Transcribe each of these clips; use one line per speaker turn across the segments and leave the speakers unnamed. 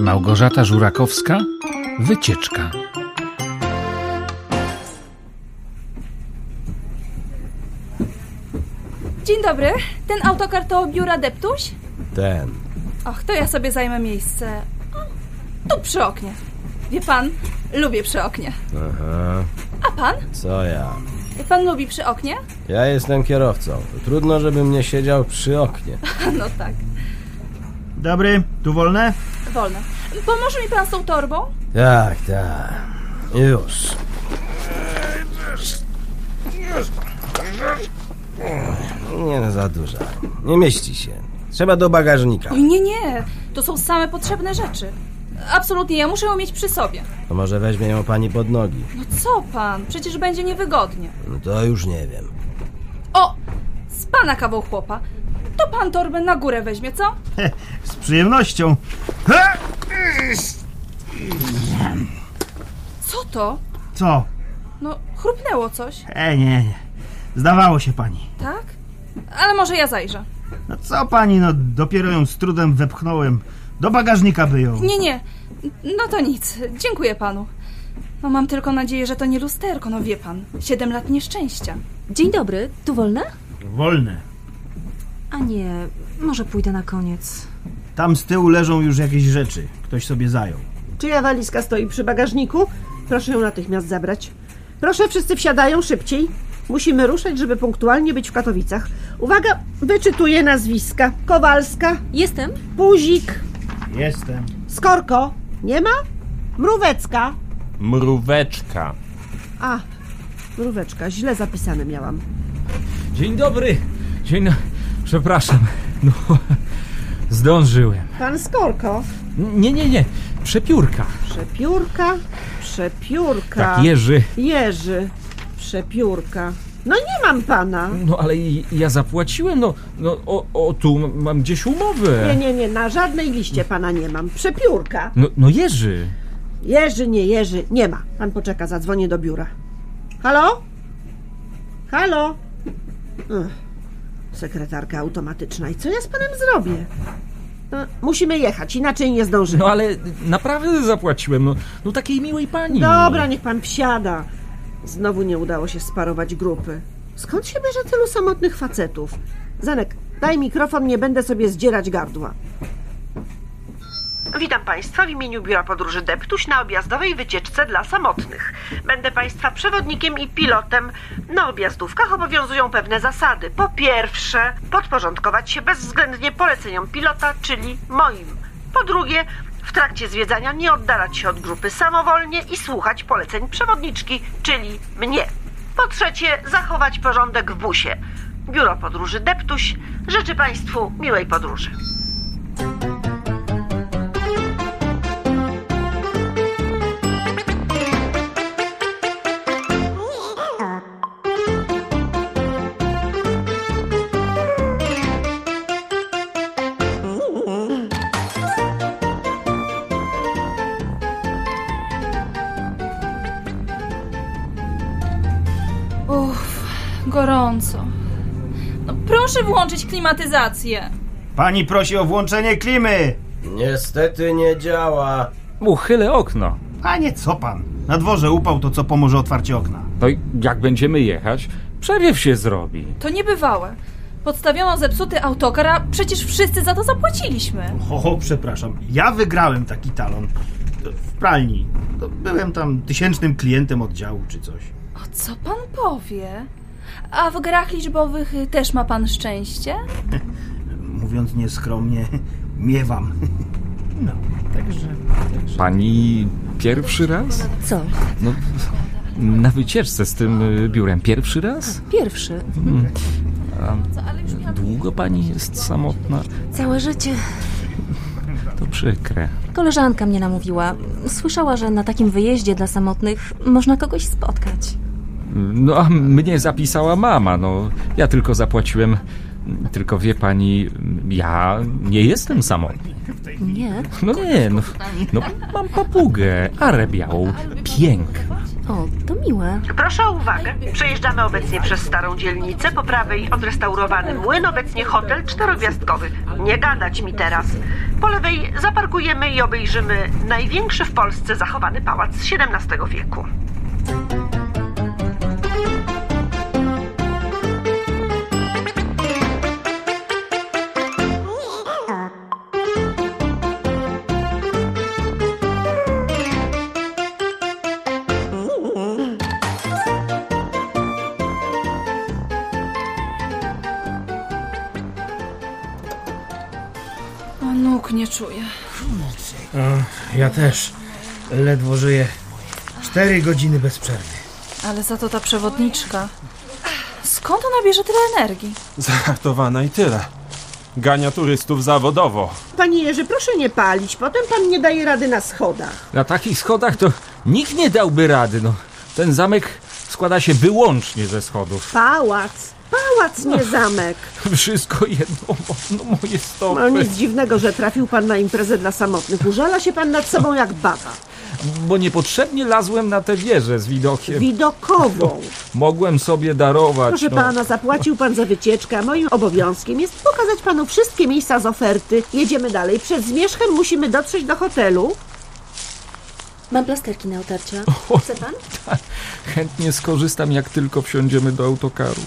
Małgorzata Żurakowska, Wycieczka.
Dzień dobry. Ten autokar to biura Deptuś?
Ten.
Och, to ja sobie zajmę miejsce. O, Tu przy oknie. Wie pan, lubię przy oknie.
Aha,
A pan?
co ja?
Pan lubi przy oknie?
Ja jestem kierowcą. Trudno, żebym nie siedział przy oknie.
No tak,
Dobry, tu wolne?
wolno. Pomoże mi pan z tą torbą?
Tak, tak. Już. Nie no, za duża. Nie mieści się. Trzeba do bagażnika.
Oj, nie, nie. To są same potrzebne rzeczy. Absolutnie, ja muszę ją mieć przy sobie.
To może weźmie ją pani pod nogi.
No co pan? Przecież będzie niewygodnie.
No to już nie wiem.
O, z pana kawał chłopa. To pan torbę na górę weźmie, co?
He, z przyjemnością.
Co to?
Co?
No, chrupnęło coś,
E, nie, nie. Zdawało się pani.
tak? Ale może ja zajrzę.
No co pani, no dopiero ją z trudem wepchnąłem. Do bagażnika by ją.
Nie, nie. No to nic. Dziękuję panu. No mam tylko nadzieję, że to nie lusterko, no wie pan. Siedem lat nieszczęścia.
Dzień dobry, tu wolne?
Wolne.
A nie, może pójdę na koniec.
Tam z tyłu leżą już jakieś rzeczy. Ktoś sobie zajął.
Czyja walizka stoi przy bagażniku? Proszę ją natychmiast zabrać. Proszę, wszyscy wsiadają szybciej. Musimy ruszać, żeby punktualnie być w Katowicach. Uwaga, wyczytuję nazwiska. Kowalska,
Jestem?
Puzik,
Jestem.
Skorko. Nie ma? Mrówecka.
Mróweczka.
A, mróweczka, źle zapisane miałam.
Dzień dobry! Dzień. no- Przepraszam. No. Zdążyłem.
Pan Skorko.
Nie, nie, nie. Przepiórka.
Tak. Przepiórka, przepiórka.
Tak, Jerzy.
Jerzy, przepiórka. No nie mam pana.
No ale i- ja zapłaciłem, no. no o, o, tu m- mam gdzieś umowę.
Nie, nie, nie, na żadnej liście pana nie mam. Przepiórka.
No, no Jerzy.
Jerzy, nie Jerzy, nie ma. Pan poczeka, zadzwonię do biura. Halo? Halo? Ech, sekretarka automatyczna. I co ja z panem zrobię? E, musimy jechać, inaczej nie zdążymy.
No ale naprawdę zapłaciłem, no. No takiej miłej pani.
no.
Dobra, niech pan wsiada. Znowu nie udało się sparować grupy. Skąd się bierze tylu samotnych facetów? Zanek, daj mikrofon, nie będę sobie zdzierać gardła. Witam Państwa w imieniu Biura Podróży Deptuś na objazdowej wycieczce dla samotnych. Będę Państwa przewodnikiem i pilotem. Na objazdówkach obowiązują pewne zasady. Po pierwsze, podporządkować się bezwzględnie poleceniom pilota, czyli moim. Po drugie, w trakcie zwiedzania nie oddalać się od grupy samowolnie i słuchać poleceń przewodniczki, czyli mnie. Po trzecie, zachować porządek w busie. Biuro Podróży Deptuś życzy Państwu miłej podróży.
Uff, gorąco. No proszę włączyć klimatyzację.
Pani prosi o włączenie klimy.
Niestety nie działa.
Uchylę okno.
Panie, co pan? Na dworze upał to co pomoże otwarcie okna.
No i jak będziemy jechać, przewiew się zrobi.
To niebywałe. Podstawiono zepsuty autokar, a przecież wszyscy za to zapłaciliśmy.
O, przepraszam. Ja wygrałem taki talon. W pralni. Byłem tam tysięcznym klientem oddziału czy coś.
O co pan powie? A w grach liczbowych y, też ma pan szczęście?
Mówiąc nieskromnie, miewam. No, także...
Pani pierwszy raz?
Co?
No,
Na wycieczce z tym y, biurem. Pierwszy raz?
Pierwszy.
Hmm. długo pani jest samotna?
Całe życie.
To przykre.
Koleżanka mnie namówiła. Słyszała, że na takim wyjeździe dla samotnych można kogoś spotkać.
No a mnie zapisała mama, no. Ja tylko zapłaciłem. Tylko wie pani, ja nie jestem samotny.
Nie?
No nie, no, no mam papugę, arę białą, piękną.
O, to miłe.
Proszę o uwagę. Przejeżdżamy obecnie przez starą dzielnicę, po prawej odrestaurowany młyn, obecnie hotel czterogwiazdkowy. Nie gadać mi teraz. Po lewej zaparkujemy i obejrzymy największy w Polsce zachowany pałac z XVII wieku.
A nóg nie czuję.
Ja też ledwo żyję. Cztery godziny bez przerwy.
Ale za to ta przewodniczka. Skąd ona bierze tyle energii?
Zachatowana i tyle. Gania turystów zawodowo.
Panie Jerzy, proszę nie palić, potem pan nie daje rady na schodach.
Na takich schodach to nikt nie dałby rady, no. Ten zamek składa się wyłącznie ze schodów.
Pałac, No. pałac, nie zamek.
Wszystko jedno, no moje
No
stopy.
nic dziwnego, że trafił pan na imprezę dla samotnych. Użala się pan nad sobą jak baba.
Bo niepotrzebnie lazłem na tę wieżę z widokiem.
Widokową.
Mogłem sobie darować,
Proszę
no.
pana, zapłacił pan za wycieczkę, a moim obowiązkiem jest pokazać panu wszystkie miejsca z oferty. Jedziemy dalej. Przed zmierzchem musimy dotrzeć do hotelu.
Mam plasterki na otarcia. Chce pan?
Chętnie skorzystam, jak tylko wsiądziemy do autokaru.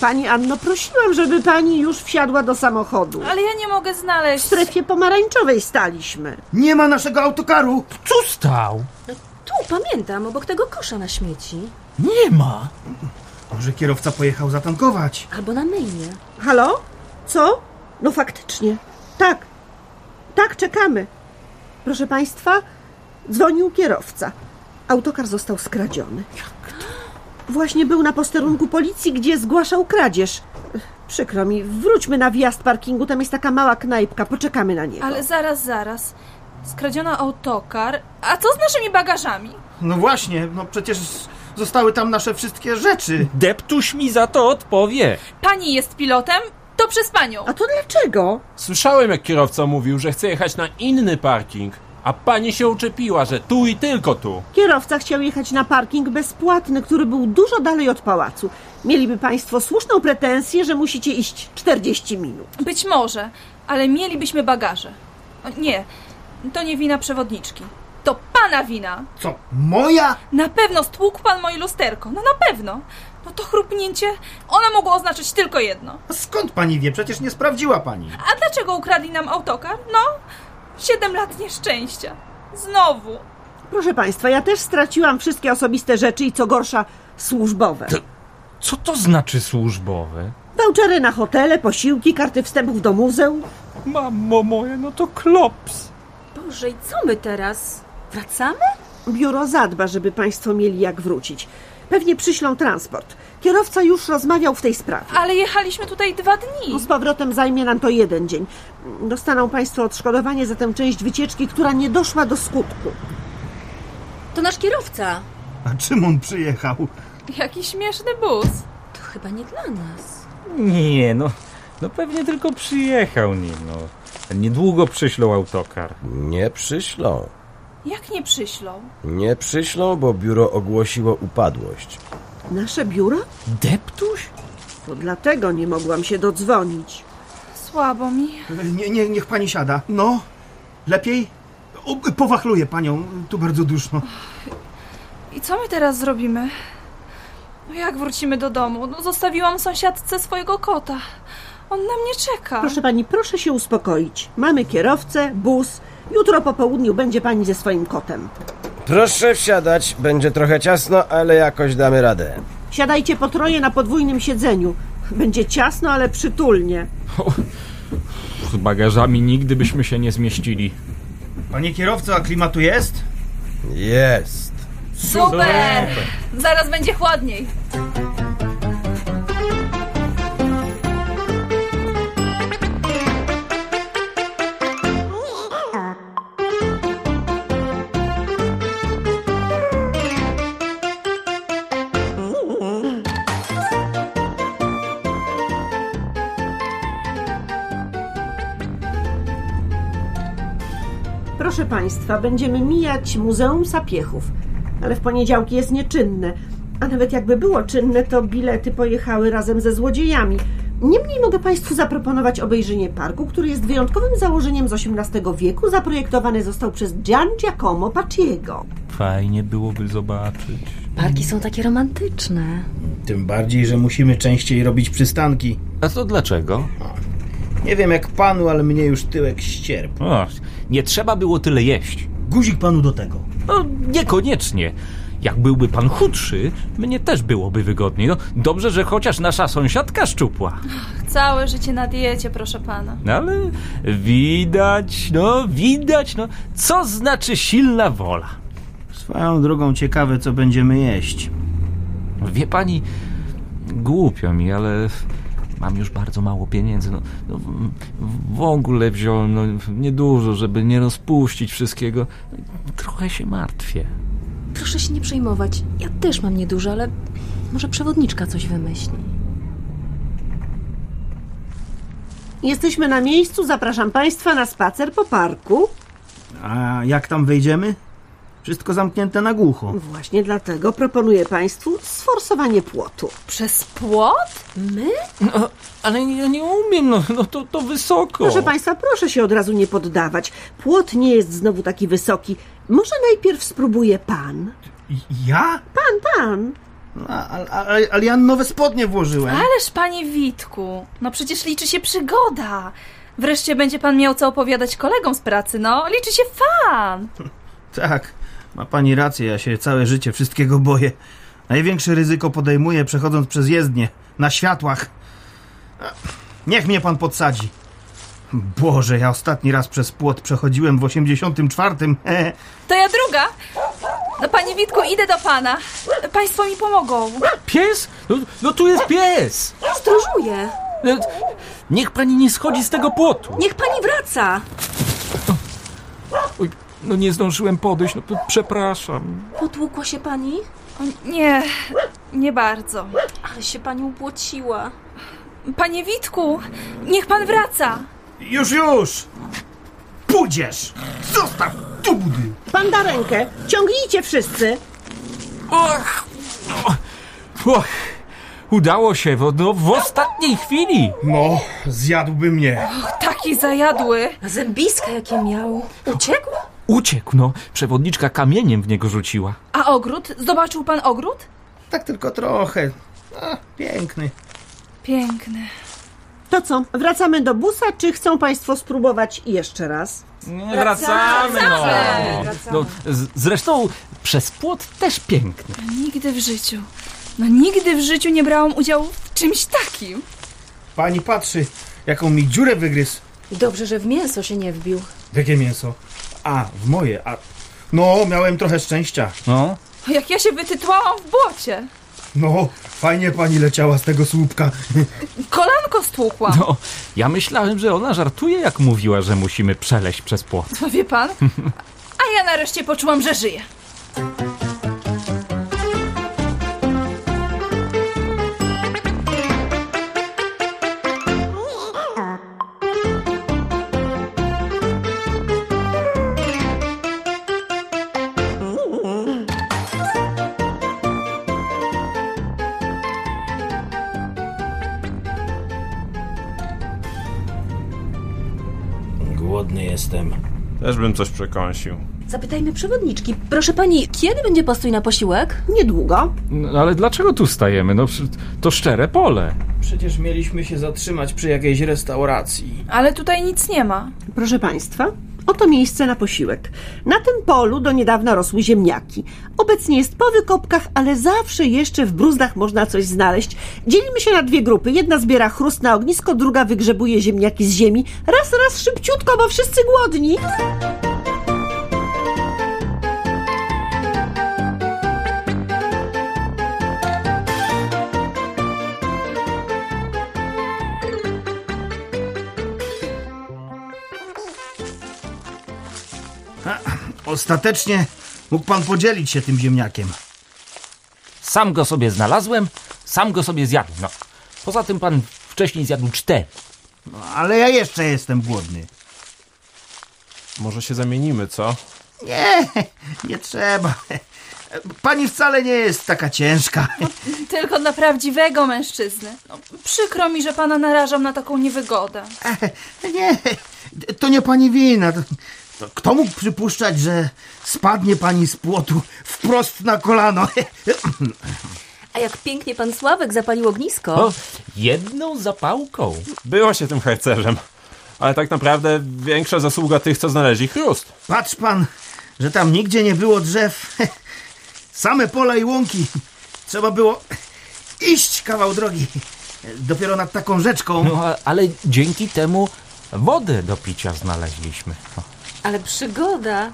Pani Anno, prosiłam, żeby pani już wsiadła do samochodu.
Ale ja nie mogę znaleźć.
W strefie pomarańczowej staliśmy.
Nie ma naszego autokaru!
Co stał?
Tu, pamiętam, obok tego kosza na śmieci.
Nie ma.
Może kierowca pojechał zatankować?
Albo na myjnie.
Halo? Co? No faktycznie. Tak. Tak, czekamy. Proszę państwa, dzwonił kierowca. Autokar został skradziony. Jak to? Właśnie był na posterunku policji, gdzie zgłaszał kradzież. Ech, Przykro mi, wróćmy na wjazd parkingu, tam jest taka mała knajpka, poczekamy na niego.
Ale zaraz, zaraz. Skradziono autokar. A co z naszymi bagażami?
No właśnie, no przecież zostały tam nasze wszystkie rzeczy.
Deptuś mi za to odpowie.
Pani jest pilotem? To przez panią.
A to dlaczego?
Słyszałem, jak kierowca mówił, że chce jechać na inny parking, a pani się uczepiła, że tu i tylko tu.
Kierowca chciał jechać na parking bezpłatny, który był dużo dalej od pałacu. Mieliby państwo słuszną pretensję, że musicie iść 40 minut.
Być może, ale mielibyśmy bagaże. O, Nie, to nie wina przewodniczki. To pana wina.
Co? Moja?
Na pewno stłukł pan moje lusterko. No na pewno. No to chrupnięcie, ono mogło oznaczać tylko jedno.
A Skąd pani wie? Przecież nie sprawdziła pani.
A dlaczego ukradli nam autokar? No, siedem lat nieszczęścia. Znowu.
Proszę Państwa, ja też straciłam wszystkie osobiste rzeczy i co gorsza, służbowe.
Co to znaczy służbowe?
Vouchery na hotele, posiłki, karty wstępów do muzeum.
Mamo moje, no to klops.
Boże, i co my teraz? Wracamy?
Biuro zadba, żeby Państwo mieli jak wrócić. Pewnie przyślą transport. Kierowca już rozmawiał w tej sprawie. No,
Ale jechaliśmy tutaj dwa dni.
Z powrotem zajmie nam to jeden dzień. Dostaną Państwo odszkodowanie za tę część wycieczki, która nie doszła do skutku.
To nasz kierowca.
A czym on przyjechał?
Jaki śmieszny bus.
To chyba nie dla nas.
Nie, no, no pewnie tylko przyjechał nim, no. Niedługo przyślą autokar.
Nie przyślą.
Jak nie przyślą?
Nie przyślą, bo biuro ogłosiło upadłość.
Nasze biuro?
Deptuś?
To dlatego nie mogłam się dodzwonić.
Słabo mi.
Nie, nie, niech pani siada. No, lepiej? O, powachluję panią, tu bardzo duszno.
I co my teraz zrobimy? No jak wrócimy do domu? No zostawiłam sąsiadce swojego kota. On na mnie czeka.
Proszę Pani, proszę się uspokoić. Mamy kierowcę, bus. Jutro po południu będzie Pani ze swoim kotem.
Proszę wsiadać, będzie trochę ciasno, ale jakoś damy radę.
Siadajcie po troje na podwójnym siedzeniu. Będzie ciasno, ale przytulnie.
Z bagażami nigdy byśmy się nie zmieścili.
Panie kierowco, a klimatu jest?
Jest.
Super! Zaraz będzie chłodniej.
Proszę Państwa, będziemy mijać Muzeum Sapiechów. ale w poniedziałki jest nieczynne. A nawet jakby było czynne, to bilety pojechały razem ze złodziejami. Niemniej mogę Państwu zaproponować obejrzenie parku, który jest wyjątkowym założeniem z XVIII wieku. Zaprojektowany został przez Gian Giacomo Paciego.
Fajnie byłoby zobaczyć.
Parki są takie romantyczne.
Tym bardziej, że musimy częściej robić przystanki.
A to dlaczego?
Nie wiem jak panu, ale mnie już tyłek ścierp.
O, nie trzeba było tyle jeść.
Guzik panu do tego.
No, niekoniecznie. Jak byłby pan chudszy, mnie też byłoby wygodniej. No, dobrze, że chociaż nasza sąsiadka szczupła.
Całe życie na diecie, proszę pana.
No, ale widać, no, widać, no, co znaczy silna wola.
Swoją drogą ciekawe, co będziemy jeść.
Wie pani, głupio mi, ale mam już bardzo mało pieniędzy. No, no, w- w ogóle wziąłem no, niedużo, żeby nie rozpuścić wszystkiego. No Trochę się martwię.
Proszę się nie przejmować. Ja też mam niedużo, ale może przewodniczka coś wymyśli.
Jesteśmy na miejscu, zapraszam Państwa na spacer po parku.
A jak tam wejdziemy? Wszystko zamknięte na głucho.
Właśnie dlatego proponuję Państwu sforsowanie płotu.
Przez płot?
My?
No, ale ja nie umiem, no, no to, to wysoko.
Proszę Państwa, proszę się od razu nie poddawać. Płot nie jest znowu taki wysoki. Może najpierw spróbuje Pan?
Ja?
Pan?
A, a, a, ale ja nowe spodnie włożyłem.
Ależ panie Witku, no przecież liczy się przygoda. Wreszcie będzie pan miał co opowiadać kolegom z pracy, no. Liczy się fan.
Tak, ma pani rację, ja się całe życie wszystkiego boję. Największe ryzyko podejmuję przechodząc przez jezdnię, na światłach. A, Niech mnie pan podsadzi. Boże, ja ostatni raz przez płot przechodziłem w 84.
To ja druga. No panie Witku, idę do pana. Państwo mi pomogą.
Pies? No, no tu jest pies!
Stróżuje!
E, Niech pani nie schodzi z tego płotu.
Niech pani wraca!
Oj, no nie zdążyłem podejść, no p- przepraszam.
Potłukła się pani?
O, nie, nie bardzo.
Ale się pani ubłociła.
Panie Witku, niech pan wraca.
Już, już! Pójdziesz! Zostaw tu budy!
Pan da rękę. Ciągnijcie wszyscy.
Och, och, udało się, w- no w ostatniej chwili.
No, zjadłby mnie.
Taki zajadły.
Zębiska jakie miał. Uciekł?
Uciekł, no. Przewodniczka kamieniem w niego rzuciła.
A ogród? Zobaczył pan ogród?
Tak tylko trochę. A, piękny.
Piękny.
To co, wracamy do busa, czy chcą Państwo spróbować jeszcze raz?
Wracamy, no. no z, zresztą przez płot też piękny.
Nigdy w życiu. No nigdy w życiu nie brałam udziału w czymś takim.
Pani patrzy, jaką mi dziurę wygryzł.
Dobrze, że w mięso się nie wbił.
W Jakie mięso? A, w moje, a... No, miałem trochę szczęścia.
No.
Jak ja się wytytłałam w błocie.
No, fajnie pani leciała z tego słupka.
Kolanko stłukłam.
no. Ja myślałem, że ona żartuje, jak mówiła, że musimy przeleść przez płot.
No wie pan? A ja nareszcie poczułam, że żyję.
Głodny jestem.
Też bym coś przekąsił.
Zapytajmy przewodniczki. Proszę pani, kiedy będzie postój na posiłek?
Niedługo.
No, ale dlaczego tu stajemy? No to szczere pole.
Przecież mieliśmy się zatrzymać przy jakiejś restauracji.
Ale tutaj nic nie ma.
Proszę Państwa, oto miejsce na posiłek. Na tym polu do niedawna rosły ziemniaki. Obecnie jest po wykopkach, ale zawsze jeszcze w bruzdach można coś znaleźć. Dzielimy się na dwie grupy. Jedna zbiera chrust na ognisko, druga wygrzebuje ziemniaki z ziemi. Raz, raz, szybciutko, bo wszyscy głodni.
Ostatecznie mógł pan podzielić się tym ziemniakiem.
Sam go sobie znalazłem, sam go sobie zjadłem. No. Poza tym pan wcześniej zjadł cztery.
No, ale ja jeszcze jestem głodny.
Może się zamienimy, co?
Nie, nie E, trzeba. Pani wcale nie jest taka ciężka.
Tylko dla prawdziwego mężczyzny. No, przykro mi, że pana narażam na taką niewygodę.
E, Nie, to nie pani wina. To, to No, kto mógł przypuszczać, że spadnie pani z płotu wprost na kolano?
A jak pięknie pan Sławek zapalił ognisko.
O, jedną zapałką.
Było się tym harcerzem. Ale tak naprawdę większa zasługa tych, co znaleźli chrust.
Patrz pan, że tam nigdzie nie było drzew. Same pola i łąki. Trzeba było iść kawał drogi. Dopiero nad taką rzeczką.
No, a- ale dzięki temu wodę do picia znaleźliśmy. O.
Ale przygoda.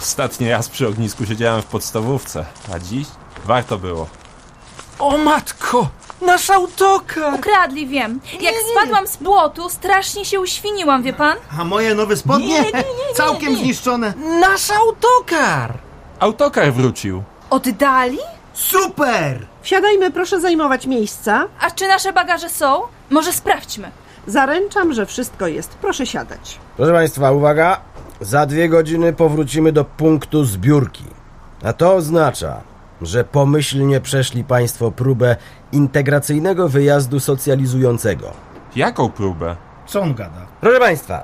Ostatni raz przy ognisku siedziałem w podstawówce, a dziś warto było.
O matko! Nasz autokar!
Ukradli, wiem. Jak spadłam z płotu, strasznie się uświniłam, wie pan?
A moje nowe spodnie? Całkiem zniszczone.
Nasz autokar!
Autokar wrócił.
Oddali?
Super!
Wsiadajmy, proszę zajmować miejsca.
A czy nasze bagaże są? Może sprawdźmy.
Zaręczam, że wszystko jest. Proszę siadać.
Proszę Państwa, uwaga! Za dwie godziny powrócimy do punktu zbiórki. A to oznacza, że pomyślnie przeszli Państwo próbę integracyjnego wyjazdu socjalizującego.
Jaką próbę?
Co on gada?
Proszę Państwa,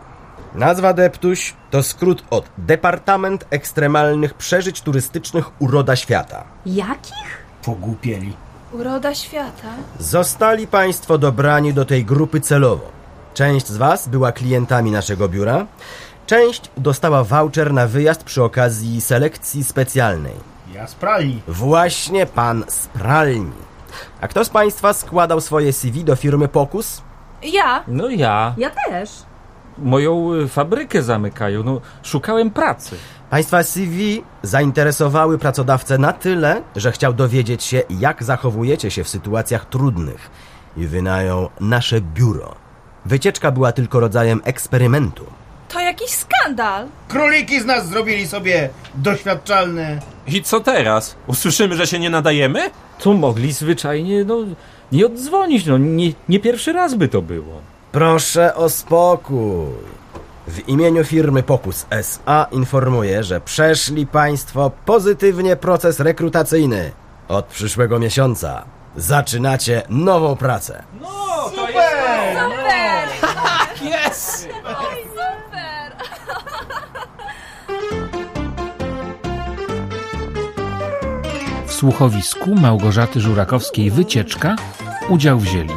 nazwa Deptuś to skrót od Departament Ekstremalnych Przeżyć Turystycznych Uroda Świata.
Jakich?
Pogłupieli.
Uroda świata.
Zostali Państwo dobrani do tej grupy celowo. Część z Was była klientami naszego biura, część dostała voucher na wyjazd przy okazji selekcji specjalnej.
Ja sprali.
Właśnie pan z pralni. A kto z Państwa składał swoje CV do firmy Pokus?
Ja?
No ja.
Ja też.
Moją y, fabrykę zamykają. No, szukałem pracy.
Państwa CV zainteresowały pracodawcę na tyle, że chciał dowiedzieć się, jak zachowujecie się w sytuacjach trudnych i wynajął nasze biuro. Wycieczka była tylko rodzajem eksperymentu.
To jakiś skandal.
Króliki z nas zrobili sobie doświadczalne.
I co teraz? Usłyszymy, że się nie nadajemy?
Tu mogli zwyczajnie, no, nie oddzwonić. No, nie, nie pierwszy raz by to było.
Proszę o spokój. W imieniu firmy Pokus SA informuję, że przeszli Państwo pozytywnie proces rekrutacyjny. Od przyszłego miesiąca zaczynacie nową pracę.
Super!
Yes!
Super!
W słuchowisku Małgorzaty Żurakowskiej Wycieczka udział wzięli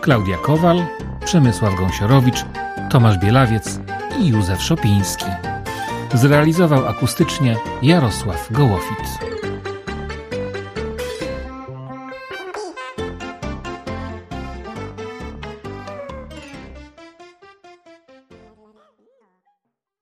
Klaudia Kowal, Przemysław Gąsiorowicz, Tomasz Bielawiec i Józef Szopiński. Zrealizował akustycznie Jarosław Gołofic.